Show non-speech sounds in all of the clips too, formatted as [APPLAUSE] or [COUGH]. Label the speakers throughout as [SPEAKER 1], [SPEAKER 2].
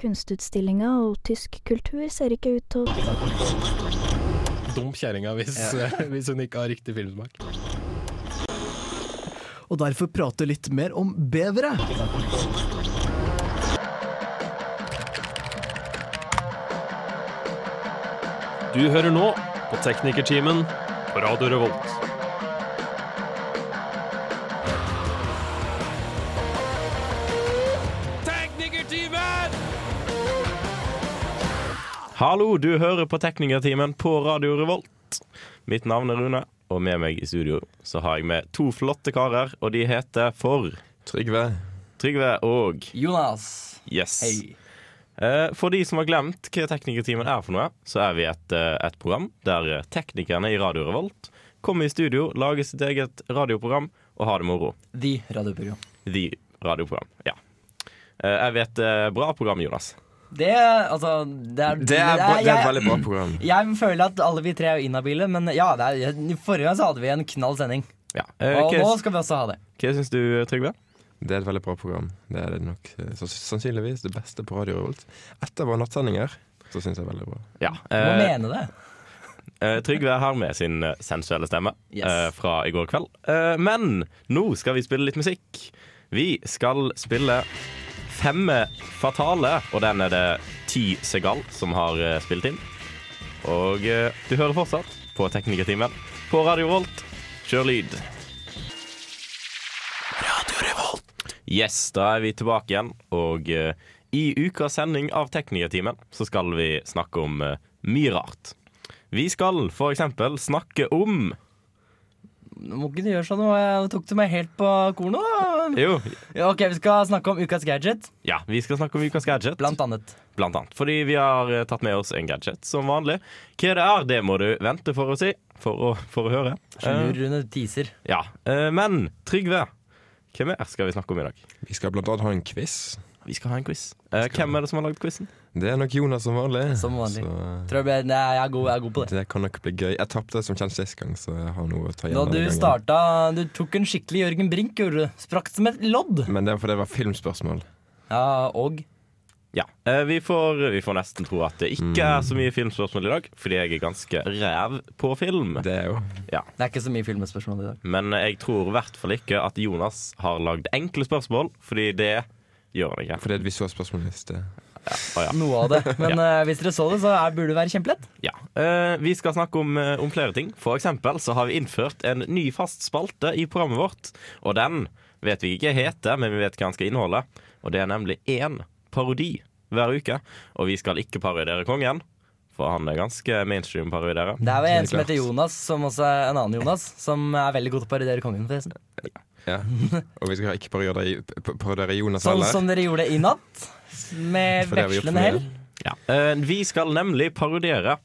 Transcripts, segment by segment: [SPEAKER 1] kunstutstillinga, og tysk kultur ser ikke ut til å
[SPEAKER 2] Dum kjerringa hvis, [LAUGHS] hvis hun ikke har riktig filmsmak.
[SPEAKER 3] og derfor prate litt mer om bevere.
[SPEAKER 4] Du hører nå på Teknikertimen på Radio Revolt. Teknikertimen! Hallo, du hører på Teknikertimen på Radio Revolt. Mitt navn er Rune, og med meg i studio så har jeg med to flotte karer, og de heter for
[SPEAKER 5] Trygve.
[SPEAKER 4] Trygve og
[SPEAKER 6] Jonas.
[SPEAKER 4] Yes.
[SPEAKER 6] Hei.
[SPEAKER 4] Eh, For de som har glemt hva Teknikertimen er for noe, så er vi et, eh, et program der eh, teknikerne i Radio Revolt kommer i studio, lager sitt eget radioprogram og har det moro.
[SPEAKER 6] De radioprogram.
[SPEAKER 4] The radioprogram. Ja. Eh, Jeg vet eh, bra program, Jonas.
[SPEAKER 6] Det, altså, det er
[SPEAKER 5] Det er, bra- det er et
[SPEAKER 6] jeg,
[SPEAKER 5] veldig bra program.
[SPEAKER 6] jeg føler at alle vi tre er inhabile, men ja, det er, forrige gang så hadde vi en knall sending.
[SPEAKER 4] Ja. Eh,
[SPEAKER 6] Og nå
[SPEAKER 4] Hva,
[SPEAKER 6] skal vi også ha det.
[SPEAKER 4] hva syns du, Trygve?
[SPEAKER 5] Det er et veldig bra program. Det er det nok eh, sanns- sannsynligvis det beste på Radio Revolt. Etter våre nattsendinger så syns jeg det er veldig bra.
[SPEAKER 4] Ja.
[SPEAKER 6] Du må
[SPEAKER 4] eh,
[SPEAKER 6] mene det.
[SPEAKER 4] eh, Trygve har med sin eh, sensuelle stemme
[SPEAKER 6] Yes.
[SPEAKER 4] eh, fra i går kveld. Eh, Men nå skal vi spille litt musikk. Vi skal spille Femme Fatale, og den er det Ti Segal som har eh, spilt inn. Og eh, du hører fortsatt på Teknikertimen på Radio Volt. Kjør lyd. Radio Revolt. Yes, da er vi tilbake igjen, og eh, i ukas sending av Teknikertimen så skal vi snakke om eh, mye rart. Vi skal for eksempel snakke om
[SPEAKER 6] Nå må ikke du gjøre sånn, nå eh, tok du meg helt på kornet. da.
[SPEAKER 4] Jo,
[SPEAKER 6] Ja, ok, vi skal snakke om ukas gadget,
[SPEAKER 4] ja, vi skal snakke om ukas gadget.
[SPEAKER 6] blant annet.
[SPEAKER 4] Blant annet. Fordi vi har eh, tatt med oss en gadget, som vanlig. Hva det er, det må du vente for å si. For å, for å høre.
[SPEAKER 6] Slur
[SPEAKER 4] Eh,
[SPEAKER 6] Rune teaser.
[SPEAKER 4] ja. Eh, men Trygve, hva mer skal vi snakke om i dag?
[SPEAKER 5] Vi skal blant annet ha en quiz.
[SPEAKER 4] Vi skal ha en quiz. Eh, hvem er det som har lagd quizen?
[SPEAKER 5] Det er nok Jonas som vanlig.
[SPEAKER 6] Som vanlig.
[SPEAKER 5] Så eh,
[SPEAKER 6] Tror jeg, ble- nei, jeg, er god, jeg er god på det.
[SPEAKER 5] det kan nok bli gøy. Jeg tapte som kjent sist gang, så jeg har noe å ta igjen.
[SPEAKER 6] Da du
[SPEAKER 5] denne gangen.
[SPEAKER 6] starta Du tok en skikkelig Jørgen Brink, gjorde du. Sprakk som et lodd.
[SPEAKER 5] Men det er fordi det var filmspørsmål.
[SPEAKER 6] Ja, og
[SPEAKER 4] Ja. Eh, vi, får, vi får nesten tro at det ikke er så mye
[SPEAKER 5] Mm.
[SPEAKER 4] filmspørsmål i dag, fordi jeg er ganske ræv på film.
[SPEAKER 5] Det er jo
[SPEAKER 6] det er ikke så mye filmspørsmål i dag.
[SPEAKER 4] Men jeg tror i hvert fall ikke at Jonas har lagd enkle spørsmål, fordi det gjør han ikke.
[SPEAKER 5] fordi at vi så spørsmålet i sted.
[SPEAKER 4] Å, ja.
[SPEAKER 6] Noe av det. Men eh, hvis dere så det, så er, burde det være kjempelett.
[SPEAKER 4] Ja. Eh, vi skal snakke om, eh, om flere ting. For eksempel så har vi innført en ny fast spalte i programmet vårt. Og den vet vi ikke heter, men vi vet hva den skal inneholde. Og det er nemlig én parodi hver uke. Og vi skal ikke parodiere kongen, for han er ganske mainstream parodierer.
[SPEAKER 6] Det er jo en
[SPEAKER 5] Helt
[SPEAKER 6] som heter
[SPEAKER 5] klart.
[SPEAKER 6] Jonas, som også er en annen Jonas, som er veldig god til å parodiere kongen, forresten.
[SPEAKER 5] Ja. Og vi skal ikke parodiere Jonas
[SPEAKER 6] Sånn
[SPEAKER 5] heller.
[SPEAKER 6] som dere gjorde i natt, med
[SPEAKER 5] For det har vi gjort
[SPEAKER 6] vekslende
[SPEAKER 5] for
[SPEAKER 6] hell.
[SPEAKER 4] Ja. Eh, vi skal nemlig parodiere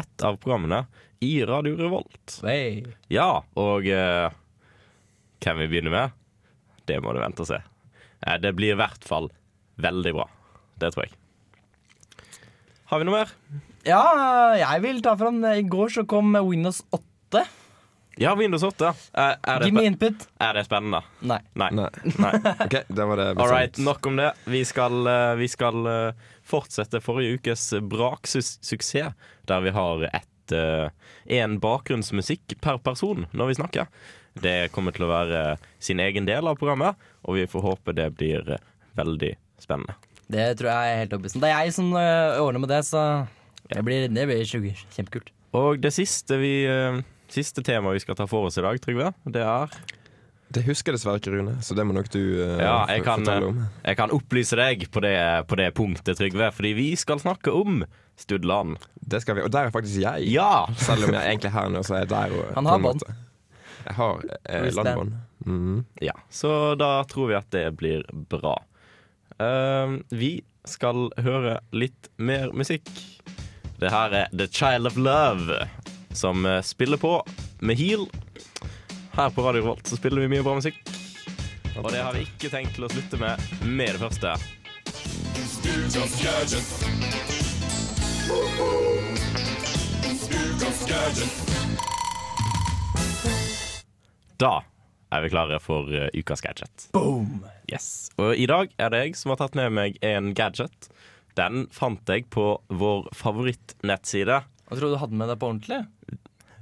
[SPEAKER 4] ett av programmene i Radio Revolt.
[SPEAKER 6] Hey.
[SPEAKER 4] Ja, og eh, hvem vi begynner med, det må du vente og se. Eh, det blir i hvert fall veldig bra. Det tror jeg. Har vi noe mer?
[SPEAKER 6] Ja, jeg vil ta fram I går så kom Windows 8.
[SPEAKER 4] Ja, Windows 8. Eh, er, det
[SPEAKER 6] Give me
[SPEAKER 4] spe-
[SPEAKER 6] input.
[SPEAKER 4] er det spennende?
[SPEAKER 6] Nei.
[SPEAKER 4] Nei.
[SPEAKER 5] Nei.
[SPEAKER 4] Nei.
[SPEAKER 5] OK, da var det
[SPEAKER 4] All right, nok om det. Vi skal, eh, vi skal eh, fortsette forrige ukes braksuksess, der vi har ett eh, en bakgrunnsmusikk per person når vi snakker. Det kommer til å være sin egen del av programmet, og vi får håpe det blir eh, veldig spennende.
[SPEAKER 6] Det tror jeg er helt overbevist. om. Det er jeg som øh, ordner med det, så det blir, det blir sjukt. kjempekult.
[SPEAKER 4] Og det siste, vi, eh, siste temaet vi skal ta for oss i dag, Trygve, det er
[SPEAKER 5] Det husker jeg dessverre ikke, Rune, så det må nok du eh,
[SPEAKER 4] Ja, jeg
[SPEAKER 5] f-
[SPEAKER 4] kan,
[SPEAKER 5] fortelle om.
[SPEAKER 4] jeg kan opplyse deg på det, på det punktet, Trygve, fordi vi skal snakke om Studland.
[SPEAKER 5] Det skal vi. Og der er faktisk jeg.
[SPEAKER 4] Ja!
[SPEAKER 5] Selv om jeg er egentlig er her nå, så er jeg der. Og,
[SPEAKER 6] Han har
[SPEAKER 5] på en
[SPEAKER 6] bånd.
[SPEAKER 5] måte. Jeg har eh,
[SPEAKER 6] Wristband.
[SPEAKER 5] landbånd. Mhm.
[SPEAKER 4] Ja, så da tror vi at det blir bra. Ehm, vi skal høre litt mer musikk. Det her er The Child of Love, som eh, spiller på med Heal. Her på Radio Revolt så spiller vi mye bra musikk. Og det har vi ikke tenkt til å slutte med med det første. Da er vi klare for eh, ukas gadget.
[SPEAKER 6] Boom!
[SPEAKER 4] Yes. Og i dag er det jeg som har tatt med meg en gadget Den fant jeg på vår favorittnettside
[SPEAKER 6] Jeg tror du hadde med deg på ordentlig.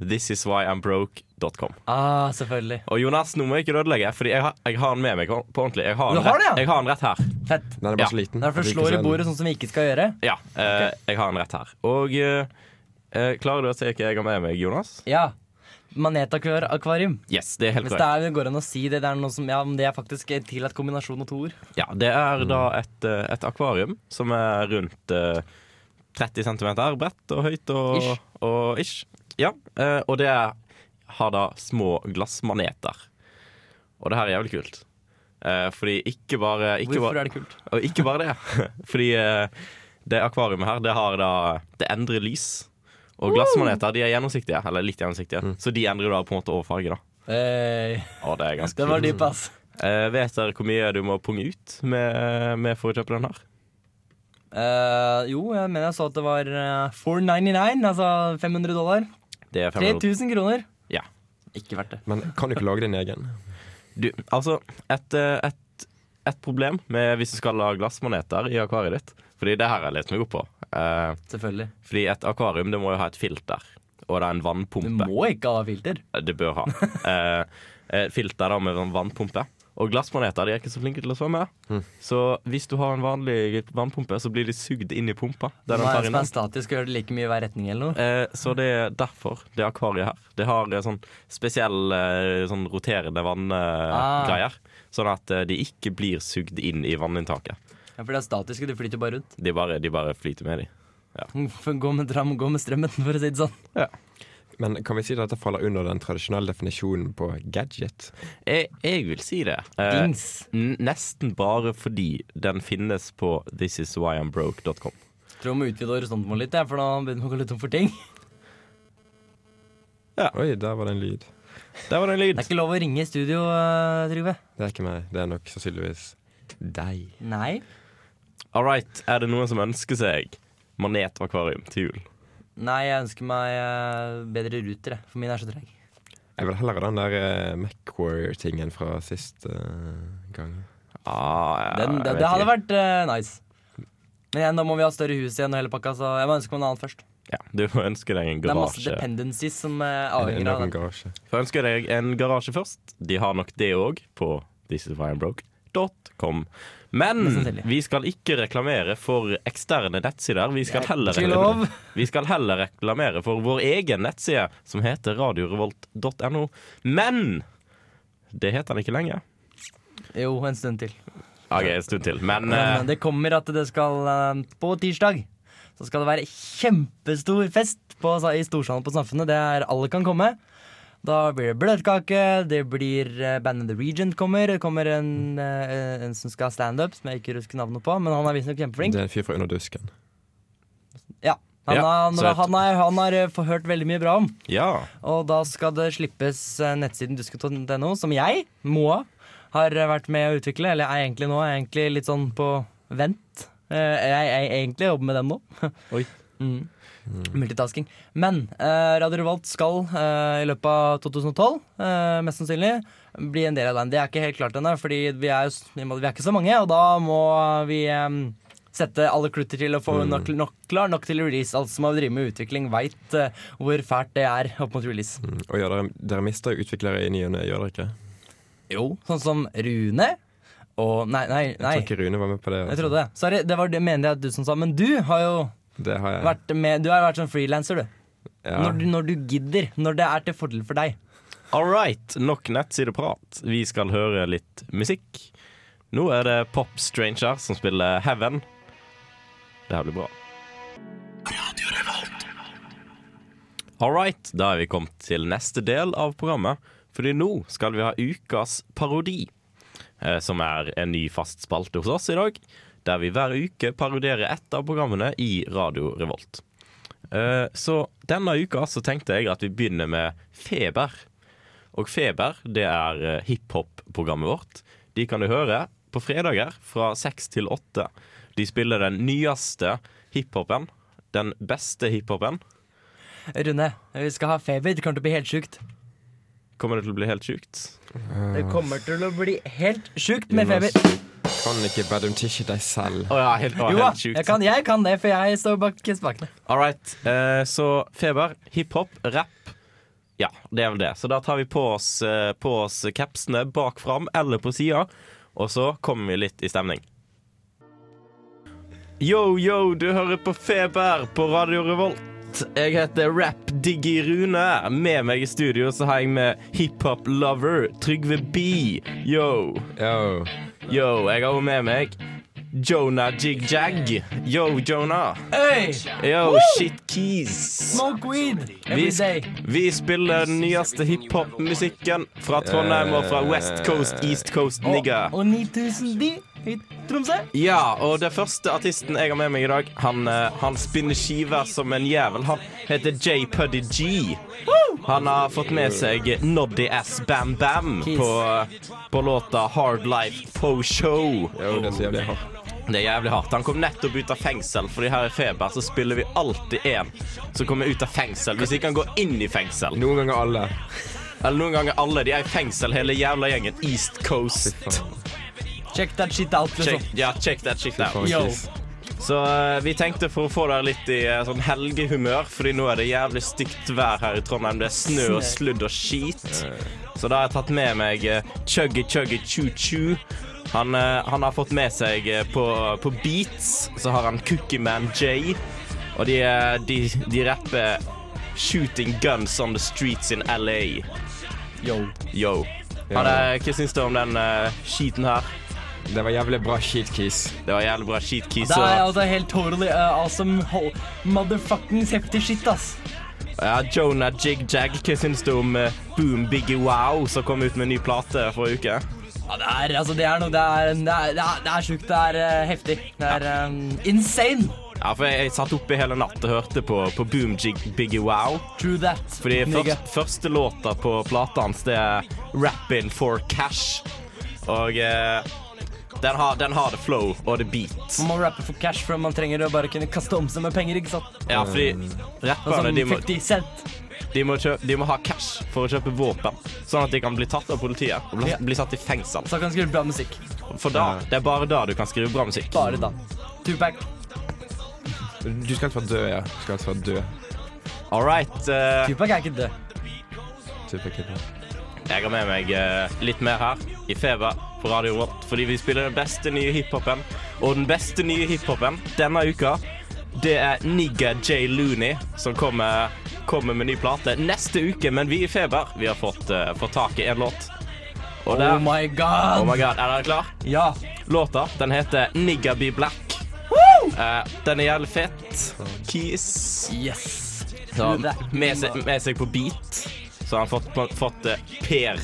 [SPEAKER 4] thisiswhyimbroke.com.
[SPEAKER 6] Ah, selvfølgelig.
[SPEAKER 4] Og Jonas, nå må jeg ikke ødelegge, Fordi jeg har, jeg har den med meg på ordentlig. Jeg har,
[SPEAKER 6] Du
[SPEAKER 4] den
[SPEAKER 6] har
[SPEAKER 4] rett,
[SPEAKER 6] det, ja?
[SPEAKER 4] jeg har den rett her.
[SPEAKER 5] [LAUGHS]
[SPEAKER 6] Fett.
[SPEAKER 5] Den er bare
[SPEAKER 4] Ja,
[SPEAKER 5] så liten.
[SPEAKER 6] Derfor
[SPEAKER 5] at vi ikke
[SPEAKER 6] slår
[SPEAKER 5] ser
[SPEAKER 6] i
[SPEAKER 5] den.
[SPEAKER 6] bordet sånn som vi ikke skal gjøre.
[SPEAKER 4] Ja, eh, jeg har den rett her. Og eh, eh, klarer du å se hva jeg har med meg, Jonas?
[SPEAKER 6] Ja. Manetakvarium.
[SPEAKER 4] Yes, det er helt
[SPEAKER 6] Hvis det
[SPEAKER 4] korrekt.
[SPEAKER 6] er, det går an å si det, det er noe som Ja, men det er faktisk en tillatt kombinasjon av to ord.
[SPEAKER 4] Ja, det er da et, eh, et akvarium som er rundt eh, 30 cm bredt og høyt og
[SPEAKER 6] Ish.
[SPEAKER 4] Og, ish. Ja, eh, og det er, har da små glassmaneter. Og det her er jævlig kult. Eh, fordi ikke bare ikke
[SPEAKER 6] Hvorfor
[SPEAKER 4] bare,
[SPEAKER 6] er det kult?
[SPEAKER 4] Og ikke bare det. [LAUGHS] Fordi eh, det akvariumet her, det har da Det endrer lys. Og glassmaneter de er gjennomsiktige, eller litt gjennomsiktige,
[SPEAKER 6] Mm.
[SPEAKER 4] så de endrer da på en måte over farge. da
[SPEAKER 6] [LAUGHS] Hey,
[SPEAKER 4] Og det er ganske
[SPEAKER 6] den Eh, var dyp, ass.
[SPEAKER 4] Eh, vet dere hvor mye du må punge ut med, med for å kjøpe den her?
[SPEAKER 6] Eh, jo, jeg mener jeg så at det var eh, 499, altså 500 dollar.
[SPEAKER 4] Det er 500
[SPEAKER 6] 3000 kroner.
[SPEAKER 4] Ja.
[SPEAKER 6] Ikke verdt det.
[SPEAKER 5] Men kan du ikke lage din egen?
[SPEAKER 4] du, Altså, et, eh, et, et problem med hvis du skal ha glassmaneter i akvariet ditt Fordi det her har jeg lest meg opp på. Eh,
[SPEAKER 6] Selvfølgelig.
[SPEAKER 4] fordi et akvarium det må jo ha et filter, og det er en
[SPEAKER 6] Du
[SPEAKER 4] vannpumpe.
[SPEAKER 6] må ikke ha filter.
[SPEAKER 4] Det bør ha.
[SPEAKER 6] [LAUGHS]
[SPEAKER 4] Eh, eh, filter da med en vannpumpe. Og glassmaneter de er ikke så flinke til å svømme.
[SPEAKER 6] Mm.
[SPEAKER 4] Så hvis du har en vanlig vannpumpe, så blir de sugd inn i pumpa. Der de
[SPEAKER 6] Nei,
[SPEAKER 4] tar
[SPEAKER 6] Som
[SPEAKER 4] inn
[SPEAKER 6] er statisk og gjør det like mye i hver retning eller noe.
[SPEAKER 4] Eh, så det er derfor det akvariet her. Det har eh, sånn spesiell eh, sånn roterende
[SPEAKER 6] Ah.
[SPEAKER 4] vanngreier. Sånn at eh, de ikke blir sugd inn i vanninntaket.
[SPEAKER 6] Ja, For det er statisk, og du flyter bare rundt. [LAUGHS]
[SPEAKER 4] De bare, de bare flyter med, de.
[SPEAKER 6] Gå med, dram, gå med strømmen, [LAUGHS] for å si det sånn.
[SPEAKER 5] Men kan vi si at dette faller under den tradisjonelle definisjonen på gadget?
[SPEAKER 4] Jeg, jeg vil si det. Eh,
[SPEAKER 6] Dings.
[SPEAKER 4] n- nesten bare fordi den finnes på thisiswhyimbroke.com.
[SPEAKER 6] Tror jeg må utvide horisonten vår litt, jeg, for da begynner vi å gå litt tom for
[SPEAKER 4] [LAUGHS]
[SPEAKER 6] ting.
[SPEAKER 5] Oi, der var det en lyd.
[SPEAKER 4] Der var det en
[SPEAKER 6] Det
[SPEAKER 4] lyd.
[SPEAKER 6] er ikke lov å ringe i studio, eh, Trygve.
[SPEAKER 5] Det er ikke meg. Det er nok sannsynligvis deg.
[SPEAKER 6] Nei.
[SPEAKER 4] All right, er det noen som ønsker seg manetakvarium til jul?
[SPEAKER 6] Nei, jeg ønsker meg eh, bedre ruter, jeg. For min er så treg.
[SPEAKER 5] Jeg vil heller ha den der eh, MacWarrior-tingen fra sist eh, gang.
[SPEAKER 4] Ah, ja,
[SPEAKER 6] Den,
[SPEAKER 4] jeg
[SPEAKER 6] det,
[SPEAKER 4] vet
[SPEAKER 6] det hadde
[SPEAKER 4] ikke.
[SPEAKER 6] vært eh, nice. Men igjen, da må vi ha større hus igjen og hele pakka, så jeg må ønske meg noe annet først.
[SPEAKER 4] ja, Du får ønske deg en
[SPEAKER 6] Det er masse
[SPEAKER 4] garasje.
[SPEAKER 6] dependencies som eh,
[SPEAKER 5] En
[SPEAKER 6] avhenger av
[SPEAKER 5] enorm
[SPEAKER 6] det.
[SPEAKER 5] garasje.
[SPEAKER 4] Så ønsker jeg deg en garasje først. De har nok det òg på thisiswhiambroke.com. Men
[SPEAKER 6] Mest sannsynlig.
[SPEAKER 4] vi skal ikke reklamere for eksterne nettsider. Vi skal, heller
[SPEAKER 6] Ikke lov.
[SPEAKER 4] reklamere, [LAUGHS] vi skal heller reklamere for vår egen nettside, som heter radiorevolt.no. Men det heter den ikke lenger.
[SPEAKER 6] Jo, en stund til.
[SPEAKER 4] OK, en stund til. Men
[SPEAKER 6] Men
[SPEAKER 4] eh,
[SPEAKER 6] det kommer at det skal eh, På tirsdag så skal det være kjempestor fest på, i Storsalen på Samfunnet. Det er alle kan komme. Da blir det bløtkake, det blir eh, bandet The Regent kommer. Det kommer en, eh, en som skal ha standup, som jeg ikke husker navnet på, men han er visstnok kjempeflink.
[SPEAKER 5] Det er en fyr fra under dusken.
[SPEAKER 6] Ja, han,
[SPEAKER 4] Ja,
[SPEAKER 6] har-
[SPEAKER 4] så et-
[SPEAKER 6] han, har- han har eh, fått hørt veldig mye bra om.
[SPEAKER 4] ja.
[SPEAKER 6] Og da skal det slippes eh, nettsiden dusket.no, som jeg, Moa, har eh, vært med å utvikle. Eller er egentlig nå er jeg egentlig litt sånn på vent. Eh, Jeg, jeg egentlig jobber med den nå. [LAUGHS]
[SPEAKER 4] Oi.
[SPEAKER 6] Mm. Multitasking. Men eh, Radio Revolt skal eh, i løpet av 2012, eh, mest sannsynlig, bli en del av den. Det er ikke helt klart ennå, fordi vi er, jo s- vi må- vi er ikke så mange, og da må vi eh, sette alle klutter til å få nok, nok, klar nok til release. Alle som har drevet med utvikling, veit eh, hvor fælt det er opp mot release.
[SPEAKER 5] Mm. Og ja, dere, dere mister jo utviklere i ny og ne, gjør dere ikke?
[SPEAKER 6] Jo. Sånn som Rune og Nei, nei, nei.
[SPEAKER 5] Jeg tror ikke Rune var med på det.
[SPEAKER 6] Jeg trodde det. Sorry, det var det mener jeg at du som sa. Men du har jo
[SPEAKER 5] altså. Det har jeg.
[SPEAKER 6] vært med Du har vært sånn frilanser, du.
[SPEAKER 5] Ja.
[SPEAKER 6] Når du. Når du gidder. Når det er til fordel for deg.
[SPEAKER 4] All right, nok nettsideprat. Vi skal høre litt musikk. Nå er det Pop Stranger som spiller Heaven. Det her blir bra. All right, da er vi kommet til neste del av programmet. Fordi nå skal vi ha ukas parodi, eh, som er en ny fast spalte hos oss i dag. Der vi hver uke parodierer ett av programmene i Radio Revolt. Eh, Så denne uka så tenkte jeg at vi begynner med Feber. Og Feber, det er eh, hiphop-programmet vårt. De kan du høre på fredager fra seks til åtte. De spiller den nyeste hiphopen. Den beste hiphopen.
[SPEAKER 6] Rune, vi skal ha feber. Det kommer til å bli helt sjukt.
[SPEAKER 4] Kommer det til å bli helt sjukt?
[SPEAKER 6] Det kommer til å bli helt sjukt med feber.
[SPEAKER 5] Jonas, Kan ikke Badum Tishy deg selv?
[SPEAKER 4] Å ja, helt, å,
[SPEAKER 6] Jo da,
[SPEAKER 4] helt sjukt.
[SPEAKER 6] jeg kan, jeg kan det, for jeg står bak spakene.
[SPEAKER 4] All right. eh, så feber, hiphop, rapp. Ja, det er vel det. Så da tar vi på oss, eh, på oss capsene bak fram eller på sida, og så kommer vi litt i stemning. Yo, yo, du hører på Feber på Radio Revolt. Jeg heter Rap Diggy Rune. Med meg i studio så har jeg med hiphop-lover Trygve B. Yo.
[SPEAKER 5] Yo.
[SPEAKER 4] Yo, jeg har også med meg Jonah Jig Jag. Yo, Jonah.
[SPEAKER 6] Øy!
[SPEAKER 4] Yo, shit keys.
[SPEAKER 6] Smoke weed every
[SPEAKER 4] Vi,
[SPEAKER 6] day.
[SPEAKER 4] vi spiller den nyeste hiphop-musikken fra Trondheim og fra West Coast, East Coast, nigga.
[SPEAKER 6] Og, og 9000 de i Tromsø.
[SPEAKER 4] Ja, og den første artisten jeg har med meg i dag, han, eh, han spinner skiver som en jævel. Han heter J. Puddy G. Han har fått med seg Noddy S. Bam Bam på, på låta Hard Life Po Show.
[SPEAKER 5] Yo, det er så jævlig hardt.
[SPEAKER 4] Det er jævlig hardt. Han kom nettopp ut av fengsel, fordi her i Feber så spiller vi alltid en som kommer ut av fengsel, hvis ikke han går inn i fengsel.
[SPEAKER 5] Noen ganger alle.
[SPEAKER 4] Eller noen ganger alle. De er i fengsel, hele jævla gjengen. East Coast.
[SPEAKER 6] Check that shit out. Liksom.
[SPEAKER 4] Check, ja, check that shit out.
[SPEAKER 5] Faen,
[SPEAKER 6] Yo.
[SPEAKER 5] Keys.
[SPEAKER 4] Så eh, vi tenkte for å få dere litt i eh, sånn helgehumør, fordi nå er det jævlig stygt vær her i Trondheim. Det er snø og sludd og skit. Så da har jeg tatt med meg eh, Chuggy Chuggy Choo Choo. Han, eh, han har fått med seg eh, på, på beats, så har han Cookieman J. Og de, eh, de, de rapper 'Shooting guns on the streets in LA'.
[SPEAKER 2] Yo.
[SPEAKER 4] Yo. Han, eh, hva syns du om den eh, skiten her?
[SPEAKER 5] Det var jævlig bra shit, Keys.
[SPEAKER 4] Det var jævlig bra skit, Kis.
[SPEAKER 6] Det er
[SPEAKER 4] og-
[SPEAKER 6] altså helt totally uh, awesome ho- motherfucking heftig shit, ass.
[SPEAKER 4] Ja, Jonah Jig Jag, hva syns du om eh, Boom Biggie Wow, som kom ut med en ny plate forrige uke?
[SPEAKER 6] Ja, det er, altså, det er noe Det er, det er, det er, det er sjukt. Det er eh, heftig. Det er eh, insane.
[SPEAKER 4] Ja, for jeg, jeg satt oppe hele natt og hørte på, på Boom Jig Biggie Wow.
[SPEAKER 6] True that.
[SPEAKER 4] Fordi
[SPEAKER 6] nigga.
[SPEAKER 4] først, første låta på plata hans, det er Rappin' for Cash. Og eh, den, har, den har the flow og the beat.
[SPEAKER 6] Man må rappe for cash, for man trenger å bare kunne kaste om seg med penger. ikke sant?
[SPEAKER 4] Ja, fordi
[SPEAKER 6] Sånn
[SPEAKER 4] rapperne,
[SPEAKER 6] som
[SPEAKER 4] de må,
[SPEAKER 6] 50 cent.
[SPEAKER 4] de, må kjø, de må ha cash for å kjøpe våpen. Sånn at de kan bli tatt av politiet og bli,
[SPEAKER 6] Ja.
[SPEAKER 4] bli satt i fengsel.
[SPEAKER 6] Så kan skrive bra musikk.
[SPEAKER 4] For da, det er bare da du kan skrive bra musikk.
[SPEAKER 6] Bare da. Tupac.
[SPEAKER 5] Du skal ikke være død, ja. Du skal ikke være død.
[SPEAKER 4] All right. eh,
[SPEAKER 6] Tupac er ikke død.
[SPEAKER 5] Type kid.
[SPEAKER 4] jeg har med meg eh, litt mer her i Feber på Radio Rolt, fordi vi spiller den beste nye hiphopen. Og den beste nye hiphopen denne uka, det er Nigga J. Looney, som kommer, kommer med ny plate neste uke. Men vi i Feber, vi har fått, eh, fått tak i en låt. Og
[SPEAKER 6] Oh
[SPEAKER 4] der
[SPEAKER 6] my
[SPEAKER 4] Oh
[SPEAKER 6] god.
[SPEAKER 4] my god, er dere klar?
[SPEAKER 6] Ja.
[SPEAKER 4] Låta, den heter Nigga Be Black. Eh, den er jævlig fett. Keys.
[SPEAKER 6] Yes.
[SPEAKER 4] Så
[SPEAKER 6] True that.
[SPEAKER 4] med, seg, med seg på beat Så har han fått, på- fått eh, Per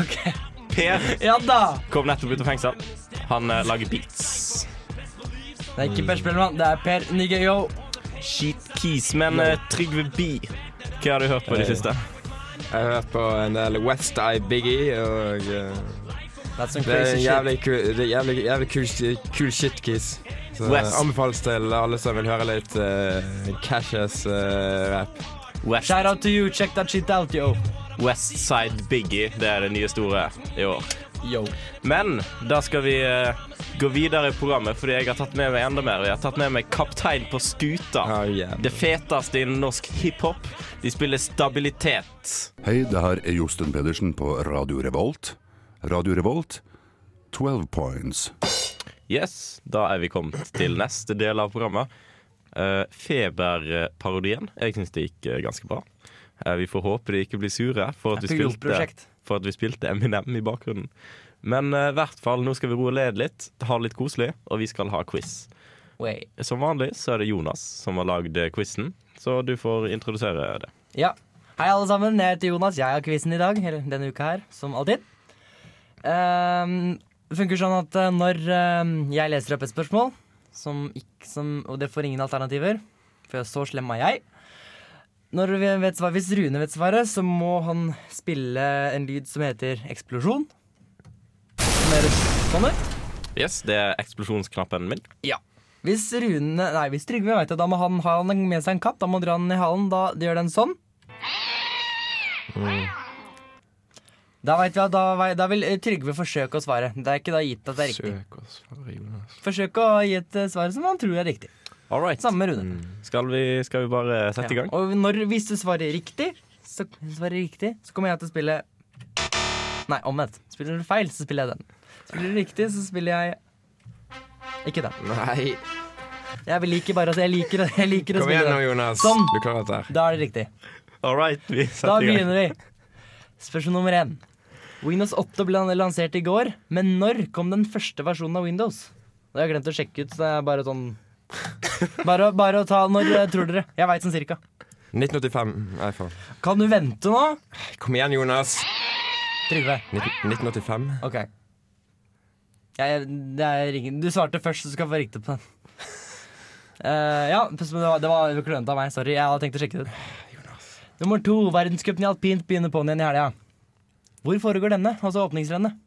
[SPEAKER 6] Ok.
[SPEAKER 4] Per
[SPEAKER 6] Ja da.
[SPEAKER 4] kom nettopp ut av fengsel Han eh, lager beats
[SPEAKER 6] Det er ikke Per Spellemann, det er Per Nigga Yo.
[SPEAKER 4] Shit keys Men eh, Trygve B Hva har du hørt på i det siste?
[SPEAKER 5] Jeg har hørt på en del West Eye Biggie, og eh,
[SPEAKER 6] That's some
[SPEAKER 5] det er
[SPEAKER 6] crazy shit.
[SPEAKER 5] jævlig kul, det er jævlig, jævlig kul, shi- kul shit, Keys. Så eh,
[SPEAKER 4] West.
[SPEAKER 5] anbefales til alle som vil høre litt eh, uh, Cashes-rap.
[SPEAKER 4] West,
[SPEAKER 6] Shout out to you. Check that shit out, yo.
[SPEAKER 4] West Side Biggie Det er det nye store i år
[SPEAKER 6] Yo.
[SPEAKER 4] Men da skal vi eh, gå videre i programmet Fordi jeg har tatt med meg enda mer Jeg har tatt med meg Kaptein på skuta
[SPEAKER 5] oh, yeah.
[SPEAKER 4] Det feteste innen norsk hiphop De spiller stabilitet
[SPEAKER 7] Hei, det her er Josten Pedersen på Radio Revolt. Radio Revolt, 12 points.
[SPEAKER 4] Yes, da er vi kommet til neste del av programmet. Eh, Feberparodien. Jeg syns det gikk eh, ganske bra. Eh, vi får håpe de ikke blir sure for at, vi spilte,
[SPEAKER 6] Pilotprosjekt.
[SPEAKER 4] for at vi spilte Eminem i bakgrunnen. Men eh, i hvert fall, nå skal vi roe ned litt, ha det litt koselig, og vi skal ha quiz.
[SPEAKER 6] Wait.
[SPEAKER 4] Som vanlig så er det Jonas som har lagd eh, quizen, så du får introdusere det.
[SPEAKER 6] Ja. Hei, alle sammen. Jeg heter Jonas. Jeg har quizen i dag, eller denne uka her, som alltid. Ehm, Det funker sånn at eh, når ehm, jeg leser opp et spørsmål, som ikk- som, og det får ingen alternativer, for så slem er jeg når vi vet svar, Hvis Rune vet svaret, så må han spille en lyd som heter eksplosjon. Som er sånn ut.
[SPEAKER 4] Yes, det er eksplosjonsknappen min.
[SPEAKER 6] Hvis Rune, nei, hvis Trygve vet det, da må han ha han med seg en katt. Da må han
[SPEAKER 5] Mm.
[SPEAKER 6] dra den i halen. Da gjør den sånn. Da, vet vi at, da, vei- da vil eh, Trygve forsøke å svare. Det er ikke da gitt at det er riktig.
[SPEAKER 5] Søk oss fra Jonas.
[SPEAKER 6] Forsøk å gi et eh, svar som han tror er riktig.
[SPEAKER 4] All right.
[SPEAKER 6] Samme med Rune.
[SPEAKER 4] Skal vi, skal vi bare sette i gang?
[SPEAKER 6] Ja. Og når, hvis du svarer riktig, så, svarer riktig, så kommer jeg til å spille Nei, omvendt. Spiller du feil, så spiller jeg den. Spiller du riktig, så spiller jeg ikke den.
[SPEAKER 5] Nei.
[SPEAKER 6] Jeg liker bare altså, jeg liker, jeg liker å
[SPEAKER 5] Kom
[SPEAKER 6] spille
[SPEAKER 5] igjen nå,
[SPEAKER 6] den.
[SPEAKER 5] Jonas.
[SPEAKER 6] Sånn.
[SPEAKER 5] Du klarer dette her.
[SPEAKER 6] Da er det riktig.
[SPEAKER 4] All right, vi
[SPEAKER 6] Da
[SPEAKER 4] setter i gang.
[SPEAKER 6] begynner vi. Spørsmål nummer én. Windows 8 ble lansert i går, men når kom den første versjonen av Windows? Det har jeg glemt å sjekke ut, så det er bare sånn Bare, bare å ta Når eh, tror dere? Jeg veit sånn cirka.
[SPEAKER 5] 1985. Nei, faen.
[SPEAKER 6] Kan du vente nå?
[SPEAKER 5] Kom igjen, Jonas.
[SPEAKER 6] Trygve.
[SPEAKER 5] Nitten- 1985.
[SPEAKER 6] Ok. Jeg, det er ingen. Du svarte først, så du skal få riktig på den. Eh, ja, det var, det var klønete av meg. Sorry. Jeg hadde tenkt å sjekke det ut. Nummer to. Verdenscupen i alpint begynner på'n igjen i helga. Hvor foregår denne? Altså åpningsrennet.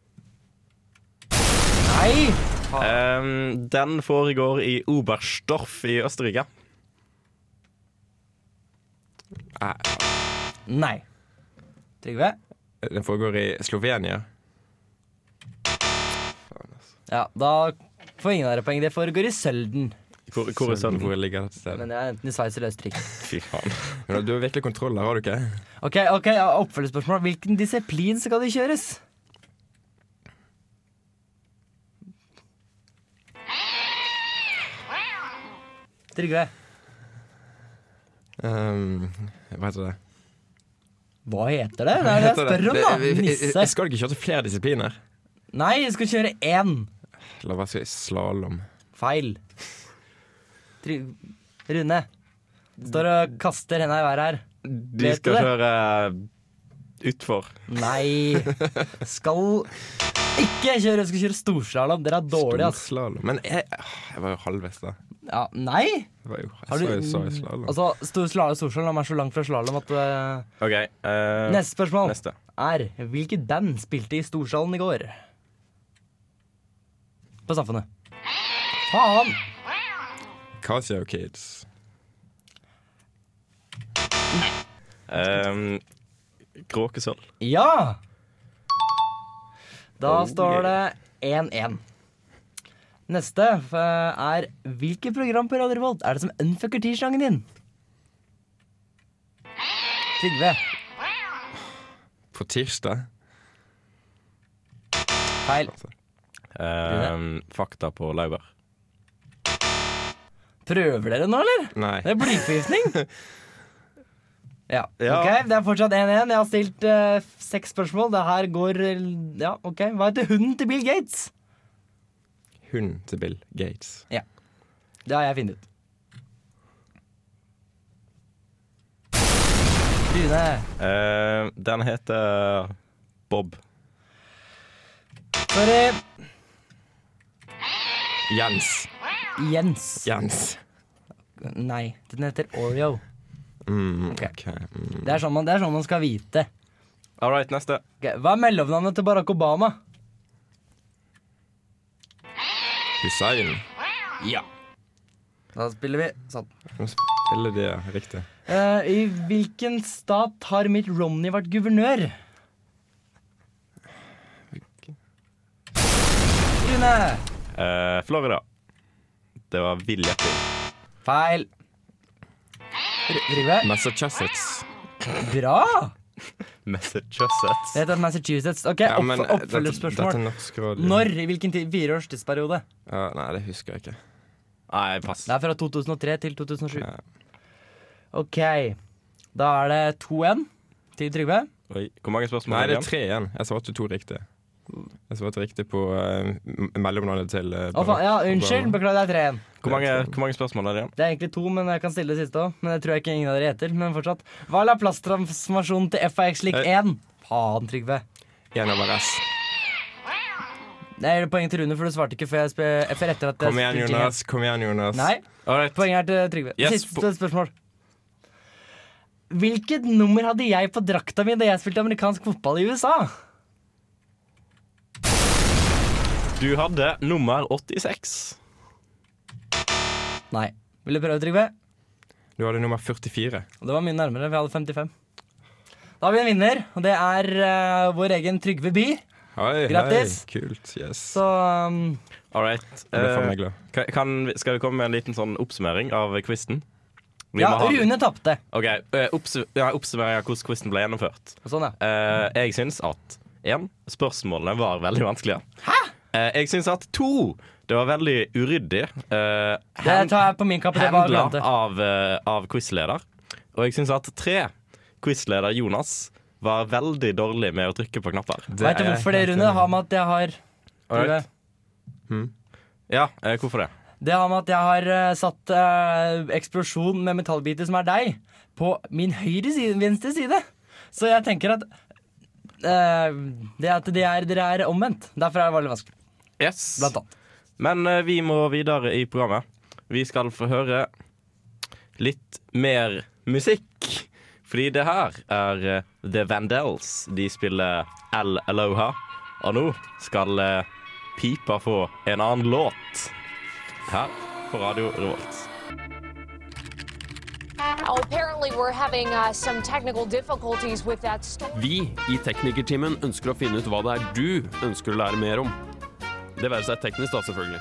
[SPEAKER 6] Nei!
[SPEAKER 4] Ehm, den foregår i Oberstdorf i Østerrike.
[SPEAKER 6] Nei. Trygve?
[SPEAKER 5] Den foregår i Slovenia.
[SPEAKER 6] Ja, da får ingen av dere poeng. Det foregår i Sølden.
[SPEAKER 4] Hvor, hvor er sønnen?
[SPEAKER 5] Hvor ligger dette stedet?
[SPEAKER 6] Men det er enten i Sveits eller Østerrike.
[SPEAKER 4] Fy faen.
[SPEAKER 5] Jonas, Du har virkelig kontroll her, har du ikke?
[SPEAKER 6] Ok, ok, ja, Oppfølgingsspørsmål. Hvilken disiplin skal det kjøres? Trygve.
[SPEAKER 5] Ehm, hva heter det?
[SPEAKER 6] Hva heter det? Det er det jeg
[SPEAKER 5] Heter
[SPEAKER 6] spør om, da.
[SPEAKER 5] Jeg- jeg- jeg-
[SPEAKER 6] Nisse.
[SPEAKER 5] Jeg skal ikke kjøre til flere disipliner.
[SPEAKER 6] Nei, jeg skal kjøre én.
[SPEAKER 5] La meg si slalåm.
[SPEAKER 6] Feil. Tryg- Rune. Står og kaster henda i været her.
[SPEAKER 4] De
[SPEAKER 6] Vet
[SPEAKER 4] skal
[SPEAKER 6] du det?
[SPEAKER 4] kjøre eh, utfor.
[SPEAKER 6] Nei. Skal ikke kjøre. Skal kjøre storslalåm. Dere er altså- dårlige, ass.
[SPEAKER 5] Storslalåm. Men jeg, jeg var jo halvveis da.
[SPEAKER 6] Ja, nei.
[SPEAKER 5] Jeg, var jo,
[SPEAKER 6] Har
[SPEAKER 5] jeg
[SPEAKER 6] du-
[SPEAKER 5] sa jo sa jo slalåm.
[SPEAKER 6] Altså, stor slalåm storslalåm er så langt fra slalåm at eh,
[SPEAKER 4] OK. eh,
[SPEAKER 6] Neste spørsmål
[SPEAKER 4] neste.
[SPEAKER 6] er hvilket band spilte i Storsalen i går? På Samfunnet. Faen!
[SPEAKER 5] Casio Kids.
[SPEAKER 4] Ehm, Kråkesølv.
[SPEAKER 6] Ja! Da
[SPEAKER 4] Oh,
[SPEAKER 6] står det
[SPEAKER 4] yeah.
[SPEAKER 6] 1-1. Neste eh, er hvilket program på Radio Revolt er det som unfucker tirsdagen din? Trygve.
[SPEAKER 5] På tirsdag.
[SPEAKER 6] Feil.
[SPEAKER 4] Ehm, fakta på laurbær.
[SPEAKER 6] Prøver dere nå, eller?
[SPEAKER 5] Nei.
[SPEAKER 6] Det er blyforgiftning. ja.
[SPEAKER 4] Ja.
[SPEAKER 6] Ok, det er fortsatt 1-1. Jeg har stilt eh, seks spørsmål. Det her går eh, Ja, ok. Hva heter hunden til Bill Gates?
[SPEAKER 5] Hunden til Bill Gates.
[SPEAKER 6] Det har jeg funnet ut. Rune.
[SPEAKER 4] Ehm, den heter Bob.
[SPEAKER 6] Sorry.
[SPEAKER 5] Jens.
[SPEAKER 6] Jens.
[SPEAKER 5] Jens.
[SPEAKER 6] Nei, den heter Oreo.
[SPEAKER 5] Mm,
[SPEAKER 6] Ok.
[SPEAKER 5] ok, mm.
[SPEAKER 6] Det er sånn man, det er sånn man skal vite.
[SPEAKER 4] All right, neste.
[SPEAKER 6] Ok, Hva er mellomnavnet til Barack Obama?
[SPEAKER 5] Hussein.
[SPEAKER 6] Da spiller vi sånn.
[SPEAKER 5] Nå spiller de ja, riktig.
[SPEAKER 6] Eh, I hvilken stat har Mitt Romney vært guvernør? Rune!
[SPEAKER 4] Eh, Florida. Det var villjepping.
[SPEAKER 6] Feil. R- Trygve?
[SPEAKER 5] Massachusetts.
[SPEAKER 6] Bra!
[SPEAKER 4] Massachusetts.
[SPEAKER 6] Det heter Massachusetts. Ok,
[SPEAKER 5] Ja, men eh,
[SPEAKER 6] opp,
[SPEAKER 5] dette, dette er
[SPEAKER 6] Oppfølgerspørsmål.
[SPEAKER 5] norsk radio.
[SPEAKER 6] Når? I hvilken tid? Fireårs tidsperiode?
[SPEAKER 5] Ja, nei, det husker jeg ikke.
[SPEAKER 4] Nei, pass.
[SPEAKER 6] Det er fra 2003 til 2007.
[SPEAKER 5] Ja.
[SPEAKER 6] Ok. Da er det 2-1 til Trygve.
[SPEAKER 4] Oi, Hvor mange spørsmål
[SPEAKER 5] Nei, det
[SPEAKER 4] igjen?
[SPEAKER 5] er tre igjen. Jeg svarte to riktig. Jeg svarte riktig på eh, m- mellomnavnet til eh,
[SPEAKER 6] Å, faen. Ja,
[SPEAKER 5] Barack
[SPEAKER 6] unnskyld.
[SPEAKER 5] Obama.
[SPEAKER 6] Beklager, det er 3-1.
[SPEAKER 4] Hvor mange, hvor mange spørsmål er det igjen?
[SPEAKER 6] Det er egentlig to, men jeg kan stille det siste òg. Men det tror jeg ikke ingen av dere gjetter. Men fortsatt. Hva la plasttransformasjonen til FAX lik
[SPEAKER 5] Eh.
[SPEAKER 6] 1? Faen, Trygve.
[SPEAKER 5] En over S.
[SPEAKER 6] Det er poeng til Rune, for du svarte ikke før, jeg spe før etter at jeg
[SPEAKER 5] Kom igjen,
[SPEAKER 6] spilte jingle.
[SPEAKER 5] Jonas. Kom igjen, Jonas.
[SPEAKER 6] Nei,
[SPEAKER 5] All right.
[SPEAKER 6] poenget er til Trygve.
[SPEAKER 5] Yes,
[SPEAKER 6] siste spørsmål. Hvilket nummer hadde jeg på drakta mi da jeg spilte amerikansk fotball i USA?
[SPEAKER 4] Du hadde nummer 86.
[SPEAKER 6] Nei. Vil du prøve, Trygve?
[SPEAKER 5] Du hadde nummer 44.
[SPEAKER 6] Det var mye nærmere, for jeg hadde 55. Da har vi en vinner, og det er eh, vår egen Trygve Bye.
[SPEAKER 5] Hei,
[SPEAKER 6] Grattis.
[SPEAKER 5] hei. Kult. Yes.
[SPEAKER 6] Så um,
[SPEAKER 4] All right.
[SPEAKER 5] Jeg ble faen meg
[SPEAKER 4] Eh,
[SPEAKER 5] glad.
[SPEAKER 4] kan, kan, vi- skal vi komme med en liten sånn oppsummering av quizen? Vi
[SPEAKER 6] ja,
[SPEAKER 4] må ha-
[SPEAKER 6] Rune tapte.
[SPEAKER 4] Ok, eh, oppsu- ja, Oppsummering av hvordan quizen ble gjennomført.
[SPEAKER 6] Sånn, ja.
[SPEAKER 4] Eh, jeg syns at en, Spørsmålene var veldig vanskelige. Eh, jeg syns at to, Det var veldig uryddig. eh,
[SPEAKER 6] Det tar jeg på min kappe. Det var
[SPEAKER 4] handla
[SPEAKER 6] Grante.
[SPEAKER 5] Ah,
[SPEAKER 4] av, eh, av quizleder. Og jeg syns at tre, quizleder Jonas var veldig dårlig med å trykke på knapper.
[SPEAKER 6] Vet du hvorfor det, Rune? Har med at jeg har Trygve.
[SPEAKER 4] Alright. Ja, eh, hvorfor det?
[SPEAKER 6] Det har med at jeg har eh, satt eh, eksplosjon med metallbiter som er deg, på min høyre side, venstre side. Så jeg tenker at eh, det at de er, dere er omvendt. Derfor er det veldig vanskelig.
[SPEAKER 4] Yes.
[SPEAKER 6] Blant annet.
[SPEAKER 4] Men eh, vi må videre i programmet. Vi skal få høre litt mer musikk. Fordi det her er eh, The Vandals. De spiller Al Aloha. Og nå skal eh, pipa få en annen låt her på Radio Revolt.
[SPEAKER 8] Well, apparently, we're having uh, some technical difficulties with that story.
[SPEAKER 9] Vi i Teknikertimen ønsker å finne ut hva det er du ønsker å lære mer om. Det være seg teknisk, da, selvfølgelig.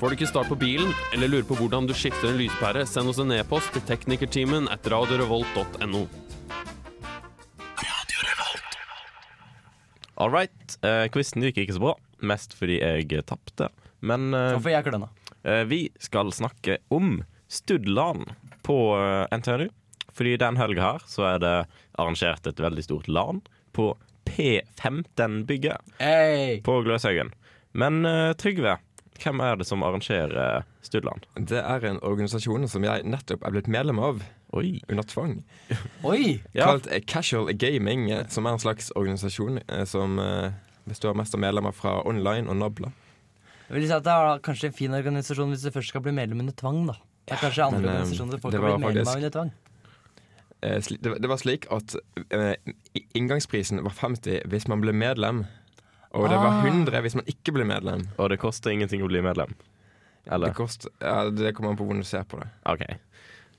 [SPEAKER 9] Får du ikke start på bilen, eller lurer på hvordan du skifter en lyspære, send oss en e-post til teknikertimen at radiorevolt.no.
[SPEAKER 4] All right. eh, Quizen gikk ikke så bra. Mest fordi jeg tapte. Men eh,
[SPEAKER 6] Hvorfor jeg kløna?
[SPEAKER 4] Eh, Vi skal snakke om Studland på eh, NTNU. Fordi den helga her så er det arrangert et veldig stort LAN på P15-bygget
[SPEAKER 6] Hey.
[SPEAKER 4] på Gløshaugen. Men eh, Trygve, hvem er det som arrangerer Studland?
[SPEAKER 5] Det er en organisasjon som jeg nettopp er blitt medlem av
[SPEAKER 4] Oi.
[SPEAKER 5] under tvang.
[SPEAKER 6] Oi!
[SPEAKER 4] Ja.
[SPEAKER 5] Kalt eh, Casual Gaming, eh, som er en slags organisasjon eh, som eh, består mest av medlemmer fra online og Nabla.
[SPEAKER 6] Jeg vil si at Det er da kanskje en fin organisasjon hvis du først skal bli medlem under tvang. da Det er kanskje andre
[SPEAKER 5] men, eh,
[SPEAKER 6] organisasjoner folk
[SPEAKER 5] det
[SPEAKER 6] har blitt
[SPEAKER 5] var
[SPEAKER 6] medlem
[SPEAKER 5] faktisk-
[SPEAKER 6] av under tvang.
[SPEAKER 5] Eh, sli- Det var- det var slik at eh, i- inngangsprisen var 50 hvis man ble medlem, og det var 100 hvis man ikke ble medlem.
[SPEAKER 4] Og det koster ingenting å bli medlem.
[SPEAKER 5] Det,
[SPEAKER 4] Eller?
[SPEAKER 5] kost, ja, det kommer an på hvordan du ser på det.
[SPEAKER 4] OK.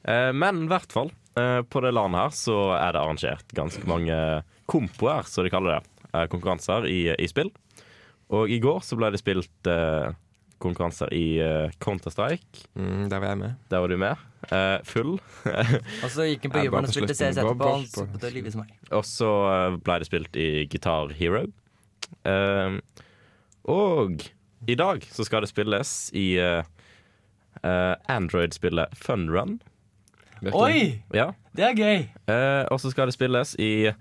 [SPEAKER 4] Eh, Men i hvert fall, eh, på det landet her så er det arrangert ganske mange kompoer, som de kaller det. eh, Konkurranser i, i spill. Og i går så ble det spilt eh, konkurranser i eh, Counter-Strike.
[SPEAKER 5] Mm, der var jeg med.
[SPEAKER 4] Der var du med. Eh, full.
[SPEAKER 6] Og så gikk han på
[SPEAKER 5] Jeg er
[SPEAKER 6] jobben
[SPEAKER 5] bare
[SPEAKER 6] og
[SPEAKER 5] på
[SPEAKER 6] spilte
[SPEAKER 5] slutten.
[SPEAKER 6] CS etterpå.
[SPEAKER 5] Bare
[SPEAKER 6] Han
[SPEAKER 5] på-
[SPEAKER 6] sopet og livet som meg.
[SPEAKER 4] Og så eh, ble det spilt i Guitar Hero. Eh, og i dag så skal det spilles i eh, eh, Android-spillet Fun Run.
[SPEAKER 6] Oi!
[SPEAKER 4] Ja.
[SPEAKER 6] Det er gøy!
[SPEAKER 4] Eh, og så skal det spilles i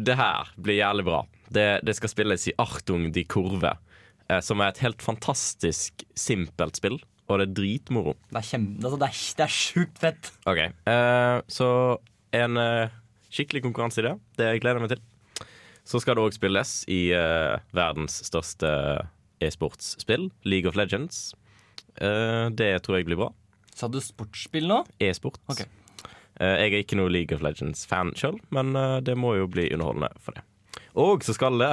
[SPEAKER 4] Det her blir jævlig bra. Det, det skal spilles i Artung de Kurve, eh, som er et helt fantastisk simpelt spill. Og det er dritmoro.
[SPEAKER 6] Det er, kjempe, altså det er, det er sjukt fett.
[SPEAKER 4] Ok, eh, Så en eh, skikkelig konkurranse i det. Det gleder jeg meg til. Så skal det òg spilles i eh, verdens største eh, e-sportsspill, League of Legends. Eh, det tror jeg blir bra.
[SPEAKER 6] Sa du sportsspill nå?
[SPEAKER 4] E-sport.
[SPEAKER 6] Ok.
[SPEAKER 4] Eh, jeg er ikke noe League of Legends-fan sjøl, men eh, det må jo bli underholdende for det. Og så skal det,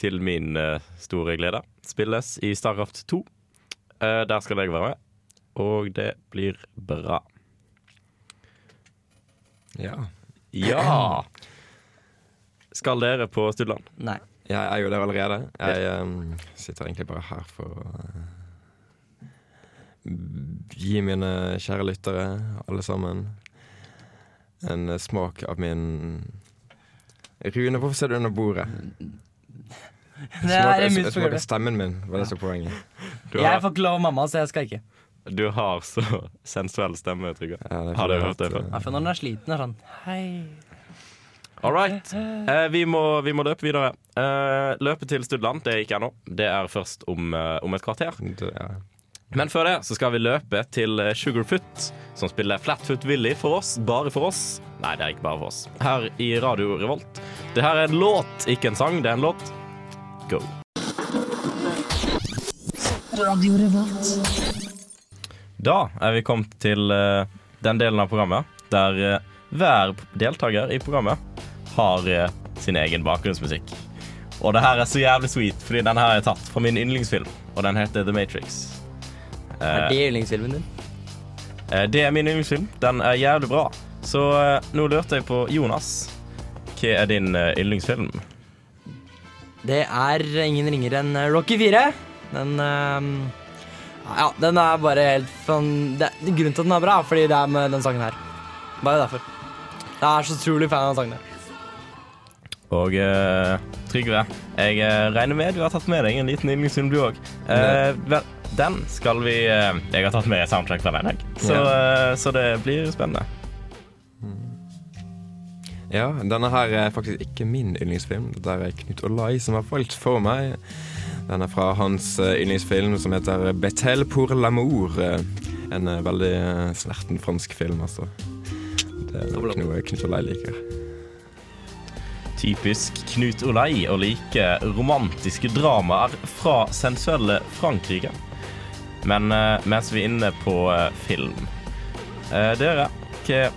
[SPEAKER 4] til min eh, store glede, spilles i Starcraft 2. Eh, der skal jeg være med, og det blir bra.
[SPEAKER 5] Ja.
[SPEAKER 4] Ja! Skal dere på Studland?
[SPEAKER 6] Nei.
[SPEAKER 5] Jeg er jo der allerede. Jeg ehm, sitter egentlig bare her for å eh, gi mine kjære lyttere, alle sammen, en eh, smak av min Rune, hvorfor ser du under bordet?
[SPEAKER 6] Det er en
[SPEAKER 5] en
[SPEAKER 6] mus på
[SPEAKER 5] smak av
[SPEAKER 6] gulvet.
[SPEAKER 5] stemmen min, var det som er poenget.
[SPEAKER 4] Du
[SPEAKER 6] Jeg
[SPEAKER 4] har,
[SPEAKER 6] får ikke lov av mamma, så jeg skal ikke.
[SPEAKER 4] du har så [LAUGHS] sensuell stemme, Trygve.
[SPEAKER 5] Ja, det er
[SPEAKER 4] Har
[SPEAKER 5] fordi
[SPEAKER 4] dere hørt det
[SPEAKER 5] at,
[SPEAKER 4] før?
[SPEAKER 5] eh,
[SPEAKER 6] I hvert fall når den er sliten. Er sånn. Hei.
[SPEAKER 4] All right. Eh, vi, må, vi må løpe videre. Eh, løpe til Studland, det er ikke ennå. Det er først om, eh, om et kvarter.
[SPEAKER 5] det- ja.
[SPEAKER 4] Men før det så skal vi løpe til Sugarfoot, som spiller Flatfoot Willy for oss. Bare for oss. Nei, det er ikke bare for oss. Her i Radio Revolt. Det her er en låt, ikke en sang. Det er en låt. Go. Da er vi kommet til eh, den delen av programmet der eh, hver deltaker i programmet har eh, sin egen bakgrunnsmusikk. Og det her er så jævlig sweet, fordi den her er tatt fra min yndlingsfilm, og den heter The Matrix.
[SPEAKER 6] Er det yndlingsfilmen din?
[SPEAKER 4] Eh, Det er min yndlingsfilm. Den er jævlig bra. Så eh, nå lurte jeg på Jonas. Hva er din eh, yndlingsfilm?
[SPEAKER 6] Det er ingen ringere enn eh, Rocky 4. Den eh, Ja, den er bare helt fan... Det, grunnen til at den er bra, er fordi det er med den sangen her. Bare derfor. Jeg er så utrolig fan av den sangen her.
[SPEAKER 4] Og eh, Trygve, jeg eh, regner med du har tatt med deg en liten yndlingsfilm, du òg. Eh, vel, den skal vi eh, Jeg har tatt med soundtrack fra den, jeg. Så, eh, så det blir spennende.
[SPEAKER 5] Ja, denne her er faktisk ikke min yndlingsfilm. Det er Knut Olai som har valgt for meg. Den er fra hans eh, yndlingsfilm som heter 'Betel pour l'amour'. eh, En eh, veldig eh, snerten fransk film, altså. Det er nok noe Knut Olai liker.
[SPEAKER 4] Typisk Knut Olei å like romantiske dramaer fra sensuelle Frankrike. Men eh, mens vi er inne på eh, film eh, Dere, hva-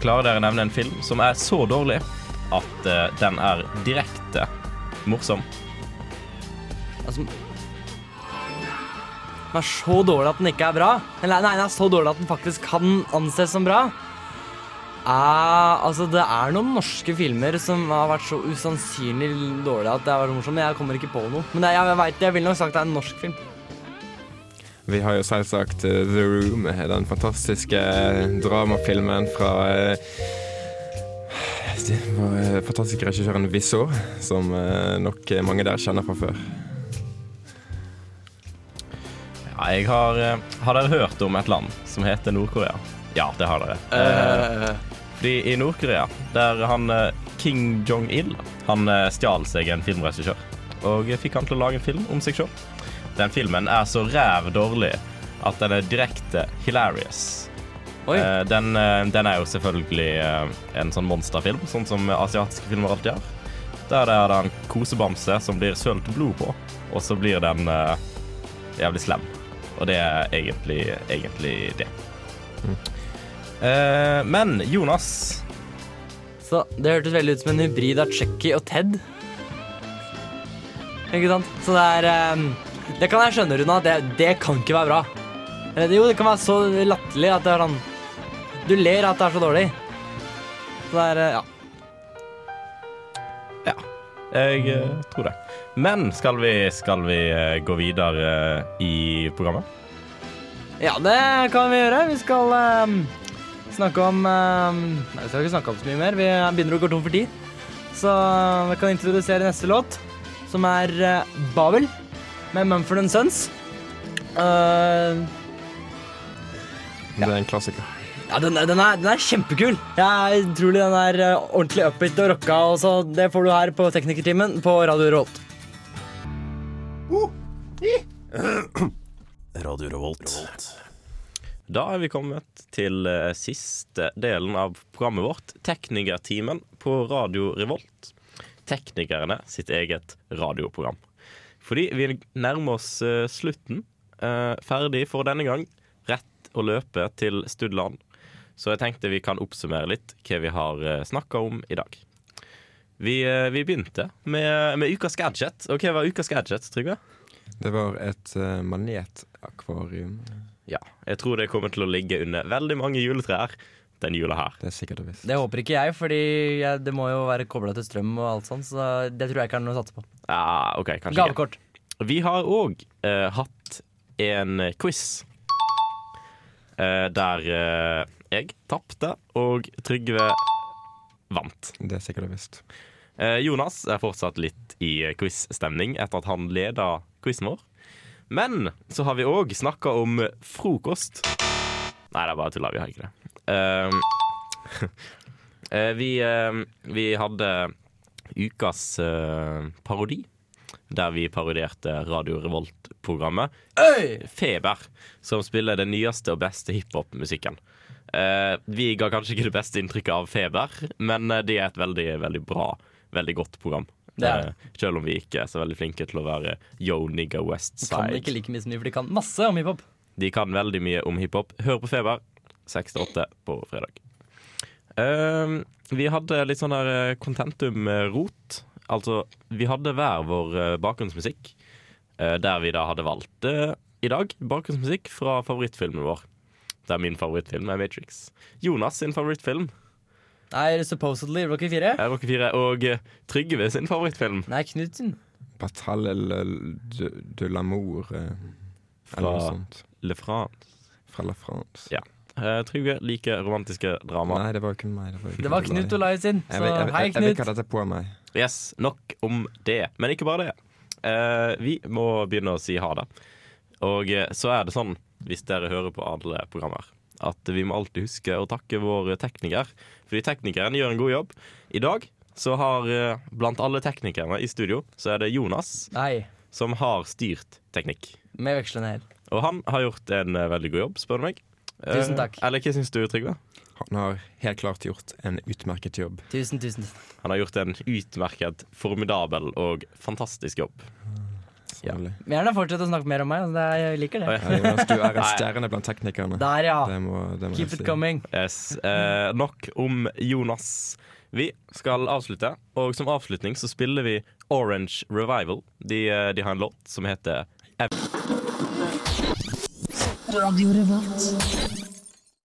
[SPEAKER 4] klarer dere å nevne en film som er så dårlig at eh, den er direkte morsom?
[SPEAKER 6] Altså, den er så dårlig at den ikke er bra. Eller nei, den er så dårlig at den faktisk kan anses som bra. Eh, altså, det er noen norske filmer som har vært så usannsynlig dårlige at det har vært morsomt, men jeg kommer ikke på noe. Men det, jeg, jeg vet, jeg ville nok sagt det er en norsk film.
[SPEAKER 5] Vi har jo selvsagt eh, The Room, eh, den fantastiske eh, dramafilmen fra eh, det var, eh, fantastiske regissøren Wisso, som eh, nok eh, mange der kjenner fra før.
[SPEAKER 4] Ja, jeg har, eh, har dere hørt om et land som heter Nord-Korea? Ja, det har dere. Eh, fordi i Nord-Korea, der han eh, King Jong-il Han eh, stjal seg en filmregissør og fikk han til å lage en film om seg sjøl. Den filmen er så ræv dårlig at den er direkte hilarious.
[SPEAKER 6] Oi.
[SPEAKER 4] Eh, den, eh, den er jo selvfølgelig eh, en sånn monsterfilm, sånn som asiatiske filmer alltid er. Der er det en kosebamse som blir sølt blod på, og så blir den eh, jævlig slem. Og det er egentlig, egentlig det. Eh, men Jonas
[SPEAKER 6] Så det hørtes veldig ut som en hybrid av Chucky og Ted. Ikke sant? Så det er ehm, Det kan jeg skjønne, Runa. Det, det kan ikke være bra. Eller, det- jo, det kan være så latterlig at det er sånn Du ler at det er så dårlig. Så det er eh, Ja.
[SPEAKER 4] Jeg eh, tror det. Men skal vi, skal vi eh, gå videre eh, i programmet?
[SPEAKER 6] Ja, det kan vi gjøre. Vi skal ehm, snakke om ehm, Nei, vi skal ikke snakke om så mye mer. Vi begynner å gå tom for tid. Så ehm, vi kan introdusere neste låt, som er eh, Babel med Mumford Sons. Eh,
[SPEAKER 5] Det er en klassiker.
[SPEAKER 6] ja, den, er- den, er, den er kjempekul. Jeg er utrolig den er eh, ordentlig upbeat og rocka. Og så det får du her på Teknikertimen på Radio Revolt.
[SPEAKER 4] Da er vi kommet til eh, siste delen av programmet vårt, Teknikertimen på Radio Revolt. Teknikerne sitt eget radioprogram. Fordi vi nærmer oss eh, slutten. eh, ferdig for denne gang. Rett å løpe til Studland. Så jeg tenkte vi kan oppsummere litt hva vi har uh, snakka om i dag. Vi, eh, vi begynte med, med ukas gadget. Og hva var ukas gadget, Trygve?
[SPEAKER 5] Det var et eh, magnetakvarium.
[SPEAKER 4] Ja, jeg tror det kommer til å ligge under veldig mange juletrær den jula her.
[SPEAKER 5] Det er sikkert og visst.
[SPEAKER 6] Det håper ikke jeg, fordi jeg, det må jo være kobla til strøm og alt sånt. Så det tror jeg ikke er noe å satse på.
[SPEAKER 4] Ja, ok, kanskje ikke.
[SPEAKER 6] Gavekort.
[SPEAKER 4] Vi har òg hatt en quiz eh, der eh, jeg tapte og Trygve vant.
[SPEAKER 5] Det er sikkert og visst.
[SPEAKER 4] Eh, Jonas er fortsatt litt i eh, quiz-stemning etter at han leda quizen vår. Men så har vi òg snakka om frokost. Nei, det er bare tulla. Vi har ikke det. Eh, [LAUGHS] eh, vi, eh, vi hadde ukas eh, parodi, der vi parodierte Radio Revolt-programmet Feber, som spiller den nyeste og beste hiphop-musikken. Eh, vi ga kanskje ikke det beste inntrykket av Feber, men eh, det er et veldig, veldig bra, veldig godt program.
[SPEAKER 6] Det er det.
[SPEAKER 4] Eh, selv om vi ikke er så veldig flinke til å være yo nigga
[SPEAKER 6] Kan
[SPEAKER 4] westside.
[SPEAKER 6] ikke like mye som de, for de kan masse om hiphop.
[SPEAKER 4] De kan veldig mye om hiphop. Hør på Feber 6 til 8 på fredag. Ehm, vi hadde litt sånn der kontentum-rot. Altså, vi hadde hver vår eh, bakgrunnsmusikk, eh, der vi da hadde valgt eh, i dag bakgrunnsmusikk fra favorittfilmen vår. Der min favorittfilm er Matrix. Jonas sin favorittfilm
[SPEAKER 6] Nei, supposedly Rocky 4.
[SPEAKER 4] Jeg er Rocky 4 og eh, Trygve sin favorittfilm.
[SPEAKER 6] Nei, Knutsen.
[SPEAKER 5] Bataille de, de l'amour eh,
[SPEAKER 4] Fra-
[SPEAKER 5] eller noe sånt.
[SPEAKER 4] Le France.
[SPEAKER 5] Fra La France.
[SPEAKER 4] Ja. Eh, Trygve liker romantiske drama.
[SPEAKER 5] Nei, det var ikke meg. Det var,
[SPEAKER 6] Det var Knut Olai sin.
[SPEAKER 5] Jeg
[SPEAKER 6] Så
[SPEAKER 5] vil- jeg vil-
[SPEAKER 6] hei,
[SPEAKER 5] jeg- Jeg vil
[SPEAKER 6] Knut.
[SPEAKER 5] ikke ha dette på meg.
[SPEAKER 4] Yes, nok om det. Men ikke bare det. Eh, vi må begynne å si ha det. Og eh, så er det sånn, hvis dere hører på alle programmer, at vi må alltid huske å takke vår tekniker. Fordi teknikeren gjør en god jobb. I dag så har eh, blant alle teknikerne i studio, så er det Jonas
[SPEAKER 6] Nei,
[SPEAKER 4] som har styrt teknikk.
[SPEAKER 6] med vekslende hell.
[SPEAKER 4] Og han har gjort en eh, veldig god jobb, spør du meg. Eh,
[SPEAKER 6] Tusen takk.
[SPEAKER 4] eller hva syns du, Trygve?
[SPEAKER 5] Han har helt klart gjort en utmerket jobb.
[SPEAKER 6] Tusen, tusen.
[SPEAKER 4] Han har gjort en utmerket, formidabel og fantastisk jobb. Ja.
[SPEAKER 5] sannelig.
[SPEAKER 6] Men Gjerne fortsett å snakke mer om meg. altså, Det er, jeg liker det.
[SPEAKER 4] Å, [LAUGHS]
[SPEAKER 5] Ja, Jonas, du er en
[SPEAKER 4] Nei.
[SPEAKER 5] stjerne blant teknikerne.
[SPEAKER 6] Der, ja.
[SPEAKER 5] Det må, det må
[SPEAKER 6] Keep
[SPEAKER 5] jeg si.
[SPEAKER 6] it coming.
[SPEAKER 4] Yes. Eh, nok om Jonas. Vi skal avslutte, og som avslutning så spiller vi Orange Revival. De, eh, de har en låt som heter